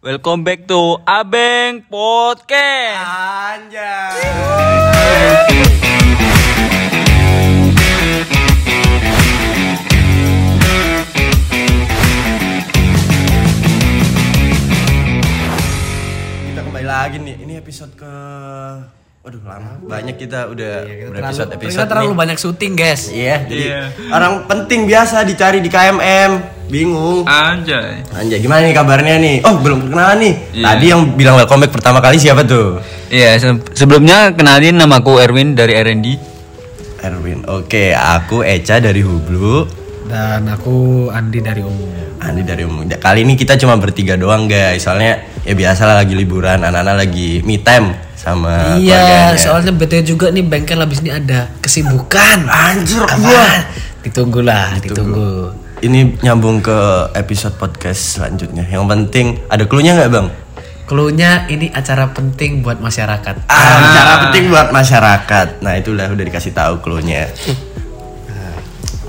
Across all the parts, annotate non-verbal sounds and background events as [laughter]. Welcome back to Abeng Podcast. Anjay. Kita kembali lagi nih. Ini episode ke Waduh lama banyak kita udah episode episode Iya, Kita terlalu banyak syuting, guys. Iya, jadi Iya. orang penting biasa dicari di KMM. Bingung. Anjay. Anjay, gimana nih kabarnya nih? Oh, belum perkenalan nih. Iya. Tadi yang bilang welcome back pertama kali siapa tuh? Iya, se- sebelumnya kenalin namaku Erwin dari R&D. Erwin. Oke, aku Eca dari Hublu, Dan aku Andi dari Ungu. Andi dari Umum. Ya, Kali ini kita cuma bertiga doang, guys. Soalnya ya biasalah lagi liburan, anak-anak lagi me time sama Iya, Nah, keluarganya. soalnya bete juga nih bengkel habis ini ada kesibukan. Anjir, wah. Kapan? Ditunggulah, ditunggu. Ini nyambung ke episode podcast selanjutnya. Yang penting ada clue-nya nggak, Bang? Cluenya ini acara penting buat masyarakat. Ah, cara penting buat masyarakat. Nah, itulah udah dikasih tahu clue-nya.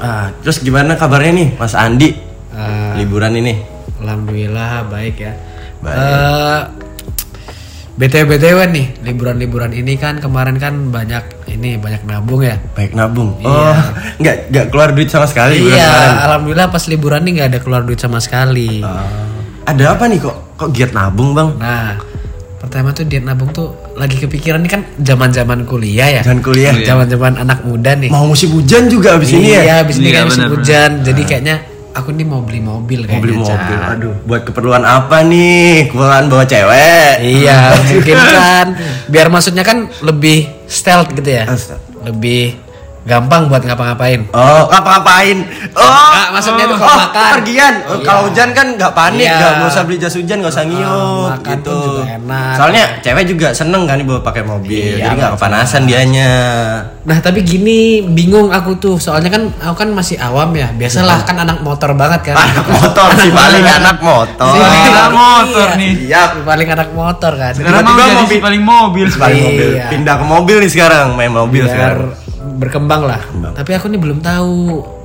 Ah, terus gimana kabarnya nih, Mas Andi? Ah. Liburan ini. Eh, Alhamdulillah baik ya. Baik. Eh, BTW BTW nih, liburan-liburan ini kan kemarin kan banyak ini banyak nabung ya. Baik nabung. Oh, [laughs] nggak nggak keluar duit sama sekali bulan Iya, kemarin. Ah. alhamdulillah pas liburan nih nggak ada keluar duit sama sekali. Ada apa nih kok kok giat nabung bang? Nah, pertama tuh diet nabung tuh lagi kepikiran ini kan zaman-zaman kuliah ya. Jangan kuliah. Zaman-zaman anak muda nih. Mau musim hujan juga abis ini ya. iya, habis ini kan Iya, musim benar, Nah. hujan. Jadi kayaknya aku nih mau beli mobil Mau kayaknya. beli Cak. mobil. Aduh, buat keperluan apa nih? Keperluan bawa cewek. Iya, mungkin kan. Biar maksudnya kan lebih stealth gitu ya. Ah, stealth. Lebih gampang buat ngapa-ngapain. Oh, ngapa-ngapain? Oh, Nggak, maksudnya tuh kalau oh, makan. kepergian. Oh, Kalau hujan kan nggak panik, Iya. Ah, nggak nggak usah beli jas hujan, nggak usah ngiyup makan pun gitu. juga enak. Soalnya cewek juga seneng kan dibawa pakai mobil, Iya, jadi nggak betul. kepanasan dianya. Nah tapi gini bingung aku tuh soalnya kan aku kan masih awam ya biasalah kan anak motor banget kan Anak motor sih [laughs] paling anak motor. Si anak motor iya. nih. Iya, Si paling anak motor kan Sekarang mau Tiba-tiba jadi mau si bi- paling mobil. paling Iya. mobil. Pindah ke mobil nih sekarang, main mobil biar sekarang. berkembang lah. Berkembang. Tapi aku nih belum tahu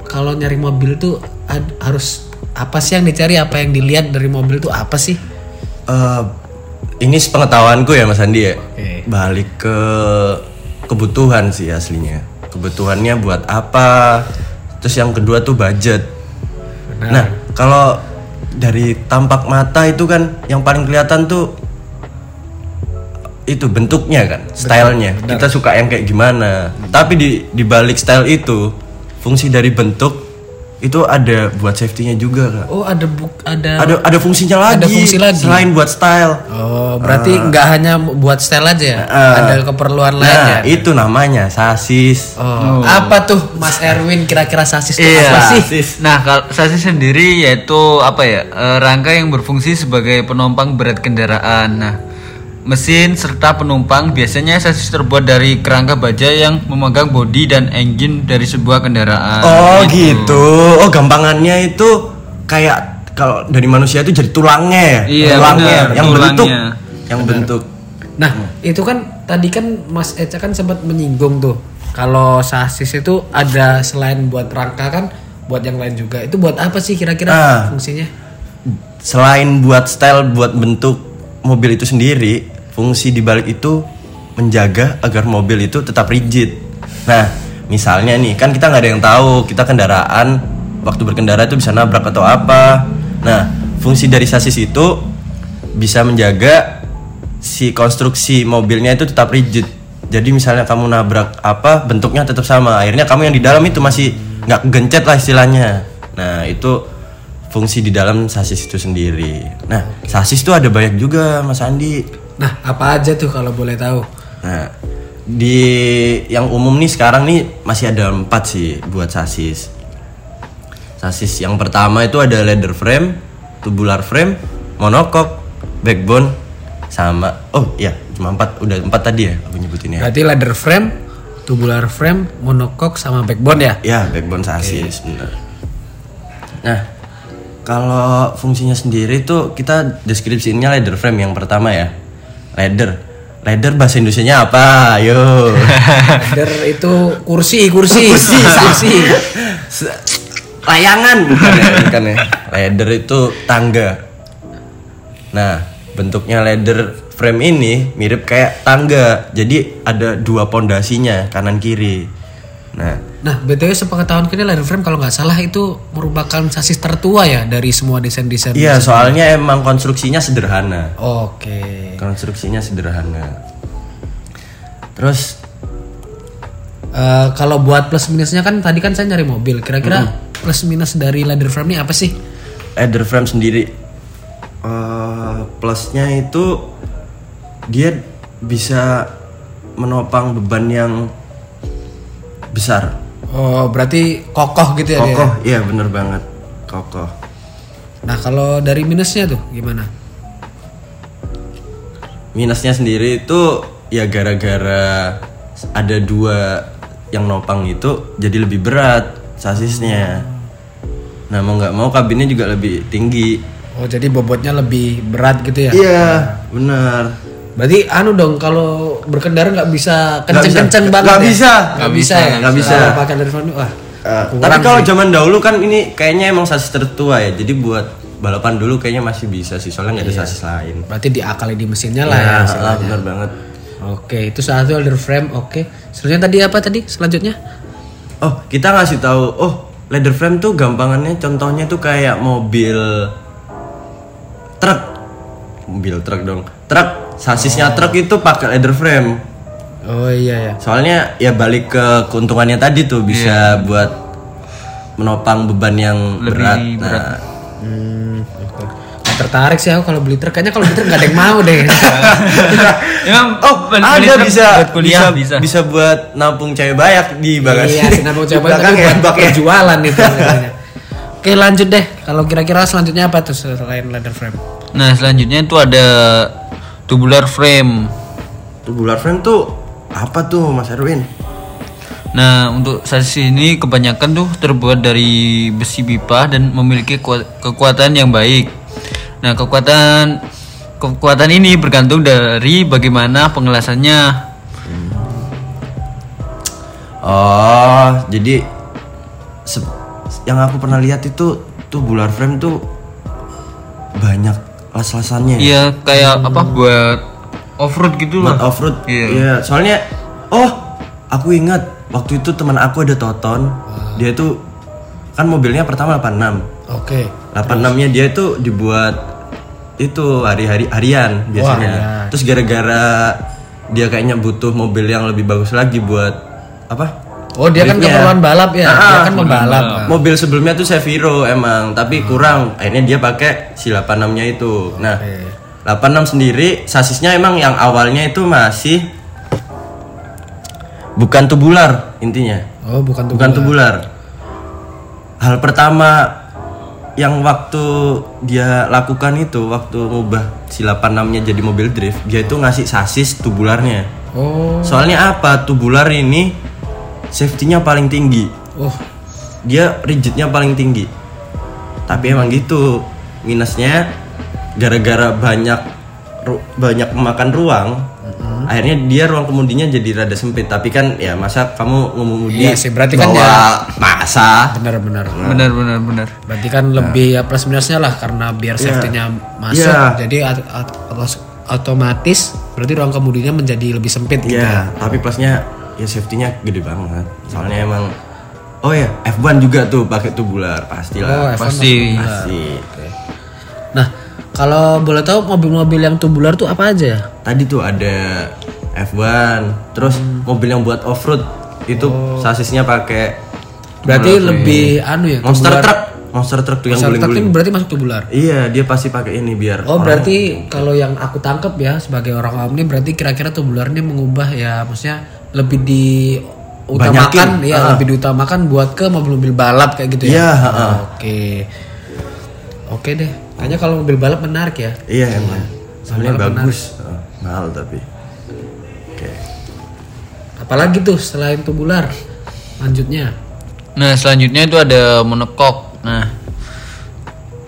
kalau nyari mobil tuh ad- harus apa sih yang dicari, apa yang dilihat dari mobil tuh apa sih? Eh, ini sepengetahuanku ya Mas Andi ya. Oke. Balik ke kebutuhan sih aslinya. Kebutuhannya buat apa? Terus yang kedua tuh budget. Nah, kalau dari tampak mata itu kan yang paling kelihatan tuh itu bentuknya kan, stylenya. Kita suka yang kayak gimana. Tapi di di balik style itu, fungsi dari bentuk itu ada buat safety-nya juga, Kak Oh ada buk ada. ada ada fungsinya lagi. Ada fungsi lagi. selain buat style. Oh berarti Ah. nggak hanya buat style aja, ya? Eh, ada keperluan lain ya. Nah, itu namanya sasis. Oh, Apa tuh Mas Erwin kira-kira sasis tuh apa Iya. sih? Nah, kalau sasis sendiri yaitu apa ya? eh, rangka yang berfungsi sebagai penompang berat kendaraan. Nah, mesin serta penumpang biasanya sasis terbuat dari kerangka baja yang memegang bodi dan engine dari nah, sebuah kendaraan. Oh, gitu. Oh, gampangannya itu kayak kalau dari manusia itu jadi tulangnya ya. Iya, tulangnya benar, yang tulangnya. bentuk. Yang bentuk. Nah Hmm. itu kan tadi kan Mas Eca kan sempat menyinggung tuh kalau sasis itu ada selain buat rangka kan buat yang lain juga itu buat apa sih kira-kira Ah. fungsinya? Selain buat style, buat bentuk mobil itu sendiri, fungsi di balik itu menjaga agar mobil itu tetap rigid. Nah, misalnya nih, kan kita nggak ada yang tahu, kita kendaraan waktu berkendara itu bisa nabrak atau apa. Nah, fungsi dari sasis itu bisa menjaga si konstruksi mobilnya itu tetap rigid. Jadi misalnya kamu nabrak apa, bentuknya tetap sama. Akhirnya kamu yang di dalam itu masih nggak gencet lah istilahnya. Nah, itu fungsi di dalam sasis itu sendiri. Nah, sasis itu ada banyak juga, Mas Andi. Nah apa aja tuh kalau boleh tahu? Nah, di yang umum nih sekarang nih masih ada empat sih buat sasis. Sasis yang pertama itu ada leather frame, tubular frame, monocoque, backbone, sama oh iya cuma empat udah empat tadi ya aku nyebutinnya. Berarti ladder frame, tubular frame, monocoque sama backbone [laughs] ya? Ya, backbone sasis bener. Nah, kalau fungsinya sendiri tuh kita deskripsinya ladder frame yang pertama ya. Ladder. Ladder bahasa Indonesianya apa? Ayo. Ladder itu kursi kursi [laughs] kursi Se- [laughs] Kan layangan bukan ya, bukan ya. Ladder itu tangga. Nah, Bentuknya leather frame ini mirip kayak tangga. Jadi ada dua pondasinya kanan kiri. Nah, Nah, BTW sepengetahuan kita leather frame kalau nggak salah itu merupakan sasis tertua ya dari semua desain-desain. iya soalnya emang konstruksinya sederhana. Oke. Konstruksinya sederhana. Terus Eh, kalau buat plus minusnya kan tadi kan saya nyari mobil. Kira-kira plus minus dari leather frame ini apa sih? Eder Frame sendiri eh, plusnya itu dia bisa menopang beban yang besar Oh, berarti kokoh gitu ya dia. kokoh iya bener banget kokoh Nah, kalau dari minusnya tuh gimana? minusnya sendiri itu ya gara-gara ada dua yang nopang itu jadi lebih berat sasisnya nah mau nggak mau kabinnya juga lebih tinggi Oh, jadi bobotnya lebih berat gitu ya? iya bener Berarti anu dong kalau berkendara nggak bisa Nggak bisa. kenceng-kenceng banget. Nggak ya? bisa. Nggak bisa ya. Nggak bisa. Kalau Pakai leather frame wah. Eh, tapi kalau zaman dahulu kan ini kayaknya emang sasis tertua ya. Jadi buat balapan dulu kayaknya masih bisa sih soalnya nggak ada sasis lain. Berarti diakali di mesinnya lah ya. Nah, hasilnya. ah, bener banget. Oke, itu satu leather frame. Oke. Selanjutnya tadi apa tadi? Selanjutnya? Oh, kita ngasih tahu. Oh, leather frame tuh gampangannya contohnya tuh kayak mobil truk. Mobil truk dong. Truk sasisnya truk itu pakai leather frame. Oh iya ya. Soalnya ya balik ke keuntungannya tadi tuh bisa buat menopang beban yang berat. Nah, Hmm, oke. Nggak tertarik sih aku kalau beli truk. Kayaknya kalau beli truk nggak ada yang mau [laughs] deh. Iya, Emang Oh, beli- beli ada truk bisa buat kuliah bisa bisa. bisa buat nampung cewek bayak [laughs] di bagasi. iya, senang mau coba Belakang tapi buat hebat ya. perjualan [laughs] itu. sebenarnya. Oke, lanjut deh. Kalau kira-kira selanjutnya apa tuh selain leather frame? Nah selanjutnya itu ada tubular frame. Tubular frame tuh apa tuh Mas Erwin? Nah untuk sasis ini kebanyakan tuh terbuat dari besi pipa dan memiliki kua- kekuatan yang baik. Nah kekuatan kekuatan ini bergantung dari bagaimana pengelasannya. Oh, jadi se- yang aku pernah lihat itu tubular frame tuh banyak las-lasannya. ya. Iya kayak apa buat offroad gitu Buat lah. off-road. Iya. soalnya oh, aku ingat waktu itu teman aku ada Toton, dia tuh kan mobilnya pertama 86. Oke. 86 nya dia itu dibuat itu hari-hari harian biasanya iya. Wah, harian. terus gara-gara dia kayaknya butuh mobil yang lebih bagus lagi buat apa Oh, dia kan Driftnya. keperluan balap ya. dia Ah, kan pembalap. mobil Hmm. sebelumnya tuh Seviro emang tapi kurang akhirnya dia pakai si 86 nya itu nah 86 sendiri sasisnya emang yang awalnya itu masih bukan tubular intinya Oh, bukan tuh. bukan tubular. Hal pertama yang waktu dia lakukan itu waktu ngubah si 86-nya jadi mobil drift, dia itu ngasih sasis tubularnya. Oh. Soalnya apa? Tubular ini safety-nya paling tinggi. Oh. Dia rigidnya paling tinggi. Tapi emang gitu minusnya gara-gara banyak ru- banyak memakan ruang. Akhirnya dia ruang kemudinya jadi rada sempit. Tapi kan ya masa kamu ngemudi Iya sih, berarti kan bawa ya- masa Benar-benar. Nah. Benar benar benar. Berarti kan lebih ya plus minusnya lah karena biar safety-nya masuk. Iya. Jadi at- at- otos- otomatis berarti ruang kemudinya menjadi lebih sempit gitu. Iya, tapi plusnya ya safety-nya gede banget. Soalnya emang Oh ya, F1 juga tuh pakai tubular Oh, pastilah. F1 Pasti. Pasti. Nah, kalau boleh tahu mobil-mobil yang tubular tuh apa aja ya? Tadi tuh ada F1, terus mobil yang buat off-road itu sasisnya pakai Berarti lebih anu ya. Nah, monster tubular. truck, monster truck tuh yang Monster truck guling-guling. itu berarti masuk tubular. Iya, dia pasti pakai ini biar Oh, berarti gitu. kalau yang aku tangkap ya sebagai orang awam ini berarti kira-kira tubular ini mengubah ya maksudnya lebih diutamakan ya lebih diutamakan buat ke mobil-mobil balap kayak gitu ya. Iya, Oh, Oke. Oke deh. Kayaknya kalau mobil balap menarik ya. Iya emang. Soalnya bagus. Heeh, mahal tapi. Oke. Apalagi tuh selain tubular. Lanjutnya. Nah selanjutnya itu ada monokok. Nah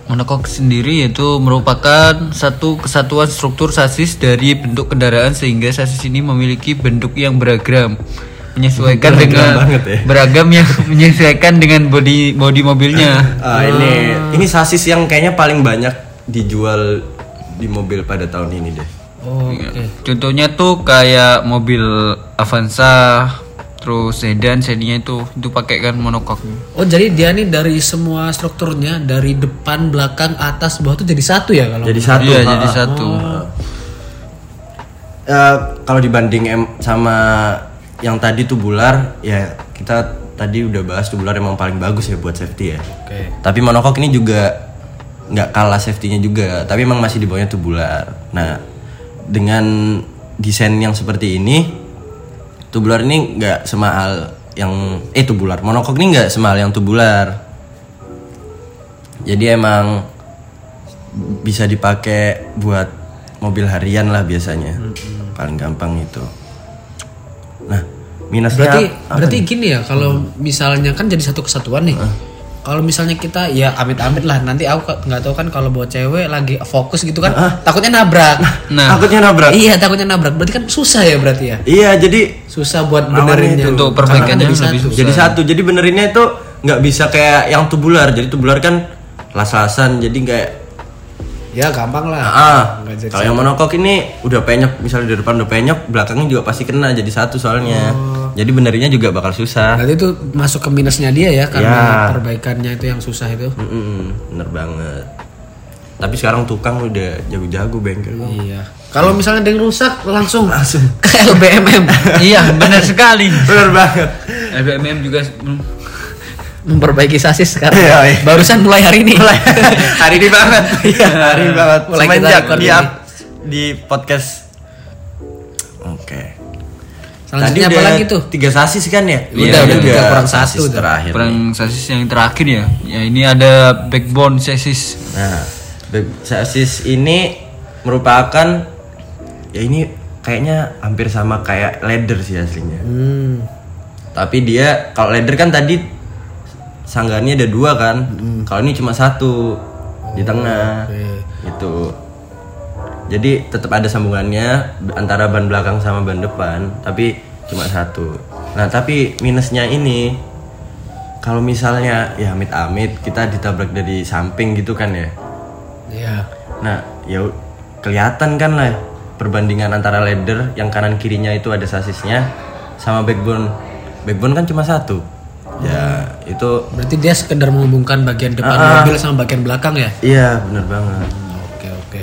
monokok sendiri yaitu merupakan satu kesatuan struktur sasis dari bentuk kendaraan sehingga sasis ini memiliki bentuk yang beragam menyesuaikan dengan banget ya. beragam yang [laughs] menyesuaikan dengan body body mobilnya. Ah, ini ini sasis yang kayaknya paling banyak dijual di mobil pada tahun ini deh. Oh, oke. Contohnya tuh kayak mobil Avanza, terus sedan, sedannya itu itu pakai kan monokok. Oh jadi dia nih dari semua strukturnya dari depan, belakang, atas, bawah tuh jadi satu ya kalau. Jadi satu. ah, Iya, ha-ha. jadi satu. Eh, kalau dibanding em- sama yang tadi tuh bular, ya kita tadi udah bahas tuh bular emang paling bagus ya buat safety ya. Oke. Tapi monokok ini juga nggak kalah safety-nya juga, tapi emang masih di bawahnya tubular. Nah, dengan desain yang seperti ini, tubular ini nggak semahal yang eh tubular, monokok ini nggak semahal yang tubular. Jadi emang bisa dipakai buat mobil harian lah biasanya, paling gampang itu. Nah, minusnya Berarti ah, berarti kan. gini ya Hmm. kalau misalnya kan jadi satu kesatuan nih. Kalau misalnya kita ya amit-amit lah nanti aku ke- nggak tahu kan kalau bawa cewek lagi fokus gitu kan takutnya nabrak. Ah. Nah, takutnya nabrak. iya takutnya nabrak. Berarti kan susah ya berarti ya. Iya, jadi Susah buat benerinnya. untuk Karena kan perbaikannya jadi lebih satu. susah. jadi satu jadi benerinnya itu nggak bisa kayak yang tubular jadi tubular kan las-lasan jadi nggak Ya gampang lah. ah Nggak jadi kalau yang monokok ini udah penyok misalnya di depan udah penyok belakangnya juga pasti kena jadi satu soalnya Oh. jadi benerinnya juga bakal Ah. susah Berarti itu masuk ke minusnya dia ya karena Iya. Ya. perbaikannya itu yang susah itu. Mm-mm, bener banget tapi sekarang tukang udah jago-jago bengkel [laughs] Iya. Kalau misalnya ada yang rusak langsung langsung [laughs] ke LBMM [laughs] iya, [laughs] benar sekali. bener banget LBMM juga hmm. memperbaiki sasis sekarang. Iya, iya. Barusan mulai hari ini. hari ini [laughs] banget Iya. Iya, hari ini banget Iya. Mulai kita semenjak record di ini. up- di podcast oke [laughs] Selanjutnya apa lagi tuh? Tiga sasis kan ya? Iya, udah juga tiga kurang sasis satu tuh. terakhir. nih. Perang sasis yang terakhir ya. Ya ini ada backbone sasis. Nah, be- sasis ini merupakan ya ini kayaknya hampir sama kayak leather sih aslinya. Hmm. Tapi dia kalau leather kan tadi sanggarnya ada dua kan. Kalau ini cuma satu di tengah. Gitu. Jadi tetap ada sambungannya antara ban belakang sama ban depan, tapi cuma satu. Nah, tapi minusnya ini kalau misalnya ya amit-amit kita ditabrak dari samping gitu kan ya. Iya. Nah, ya u- kelihatan kan lah perbandingan antara leather yang kanan kirinya itu ada sasisnya sama backbone. Backbone kan cuma satu. Ya, itu Berarti dia sekedar menghubungkan bagian depan mobil sama bagian belakang ya? iya bener banget. Oke oke.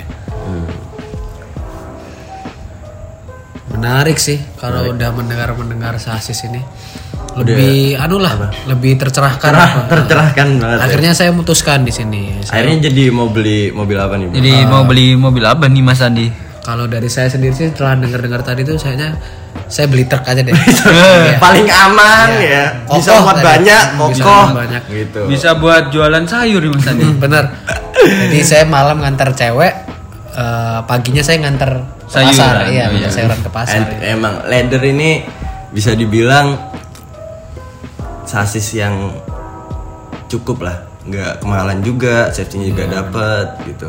Menarik sih kalau udah mendengar mendengar sasis ini. Lebih anu lah, lebih tercerahkan. Cerah, tercerahkan banget. ya. Akhirnya saya memutuskan di sini. Akhirnya jadi mau beli mobil apa nih? Bu? Jadi mau beli mobil apa nih Mas Andi? Kalau dari saya sendiri sih setelah dengar-dengar tadi tuh sayanya saya beli truk aja deh. Paling aman ya. Bisa iya. Kokoh muat tadi. banyak, Bisa kokoh. banyak. Gitu. Bisa buat jualan sayur ya Mas Andi. [laughs] Bener. Iya, Jadi saya malam nganter cewek, eh, paginya saya nganter ke Sayuran. pasar, iya, nganter Oh, iya. sayuran ke pasar. And- Emang leather ini bisa dibilang sasis yang cukup lah, nggak kemahalan juga, safety-nya juga dapet gitu.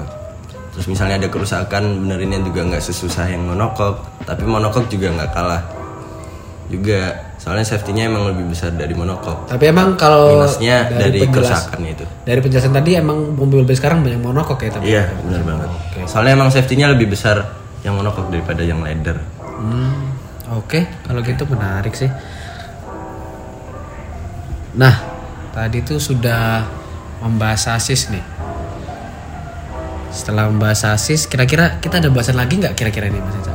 Terus misalnya ada kerusakan benerinnya juga nggak sesusah yang monokok, tapi monokok juga nggak kalah juga. Soalnya safety-nya emang lebih besar dari monokok. Tapi emang kalau Minusnya dari, penjelas- kerusakan itu. dari penjelasan tadi emang mobil-mobil sekarang banyak monokok ya tapi. Iya, benar banget. Soalnya emang safety-nya lebih besar yang monokok daripada yang leather. Hmm, Oke, kalau gitu menarik sih. Nah, tadi tuh sudah membahas sasis nih. Setelah membahas sasis, kira-kira kita ada bahasan lagi nggak kira-kira ini Mas Ica?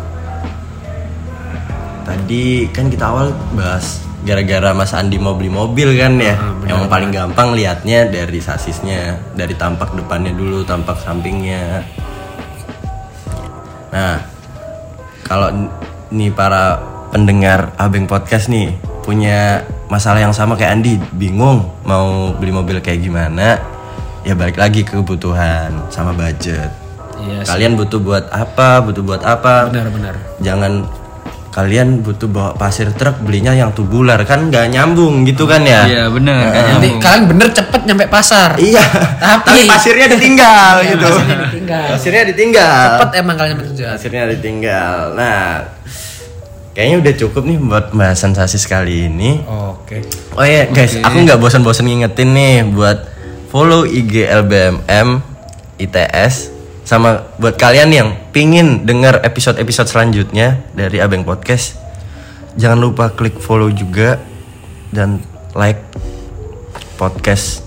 Tadi kan kita awal bahas gara-gara Mas Andi mau beli mobil kan ya. Emang paling gampang liatnya dari sasisnya, dari tampak depannya dulu, tampak sampingnya. Nah, kalau n- nih para pendengar Abeng Podcast nih punya masalah yang sama kayak Andi, bingung mau beli mobil kayak gimana? Ya balik lagi ke kebutuhan sama budget. Iya, Kalian butuh buat apa? Butuh buat apa? benar-benar. jangan kalian butuh bawa pasir truk belinya yang tubular kan nggak nyambung gitu kan ya Iya bener kan Nanti kalian bener cepet nyampe pasar. iya tapi, Tapi- Iya, pasirnya ditinggal gitu pasirnya ditinggal. pasirnya ditinggal Cepet emang kalian nyampe tujuan. pasirnya ditinggal nah kayaknya udah cukup nih buat pembahasan sasis kali ini Oke. Oh iya guys, aku nggak bosan-bosan ngingetin nih buat follow IG LBMM ITS sama buat kalian yang pingin dengar episode-episode selanjutnya dari Abeng Podcast jangan lupa klik follow juga dan like podcast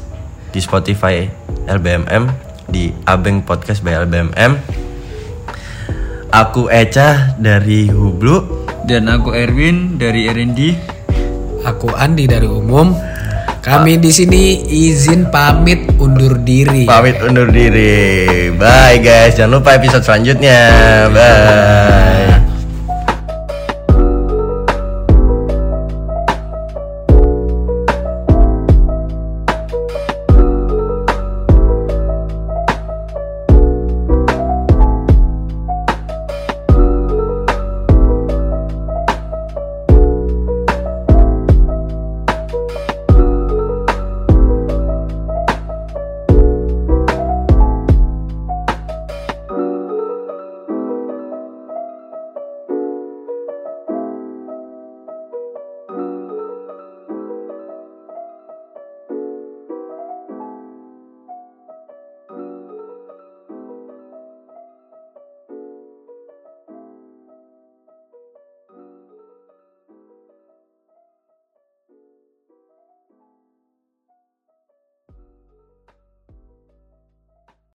di Spotify LBMM di Abeng Podcast by LBMM aku Eca dari Hublu Dan aku Erwin dari R&D. Aku Andi dari Umum. Kami di sini izin pamit undur diri. pamit undur diri bye guys jangan lupa episode selanjutnya bye